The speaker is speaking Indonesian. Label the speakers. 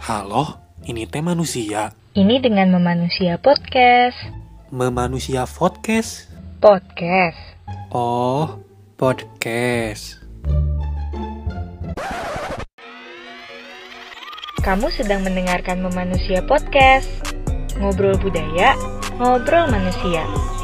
Speaker 1: Halo, ini teh manusia.
Speaker 2: Ini dengan Memanusia Podcast.
Speaker 1: Memanusia podcast.
Speaker 2: Podcast.
Speaker 1: Oh, podcast.
Speaker 2: Kamu sedang mendengarkan Memanusia Podcast. Ngobrol budaya, ngobrol manusia.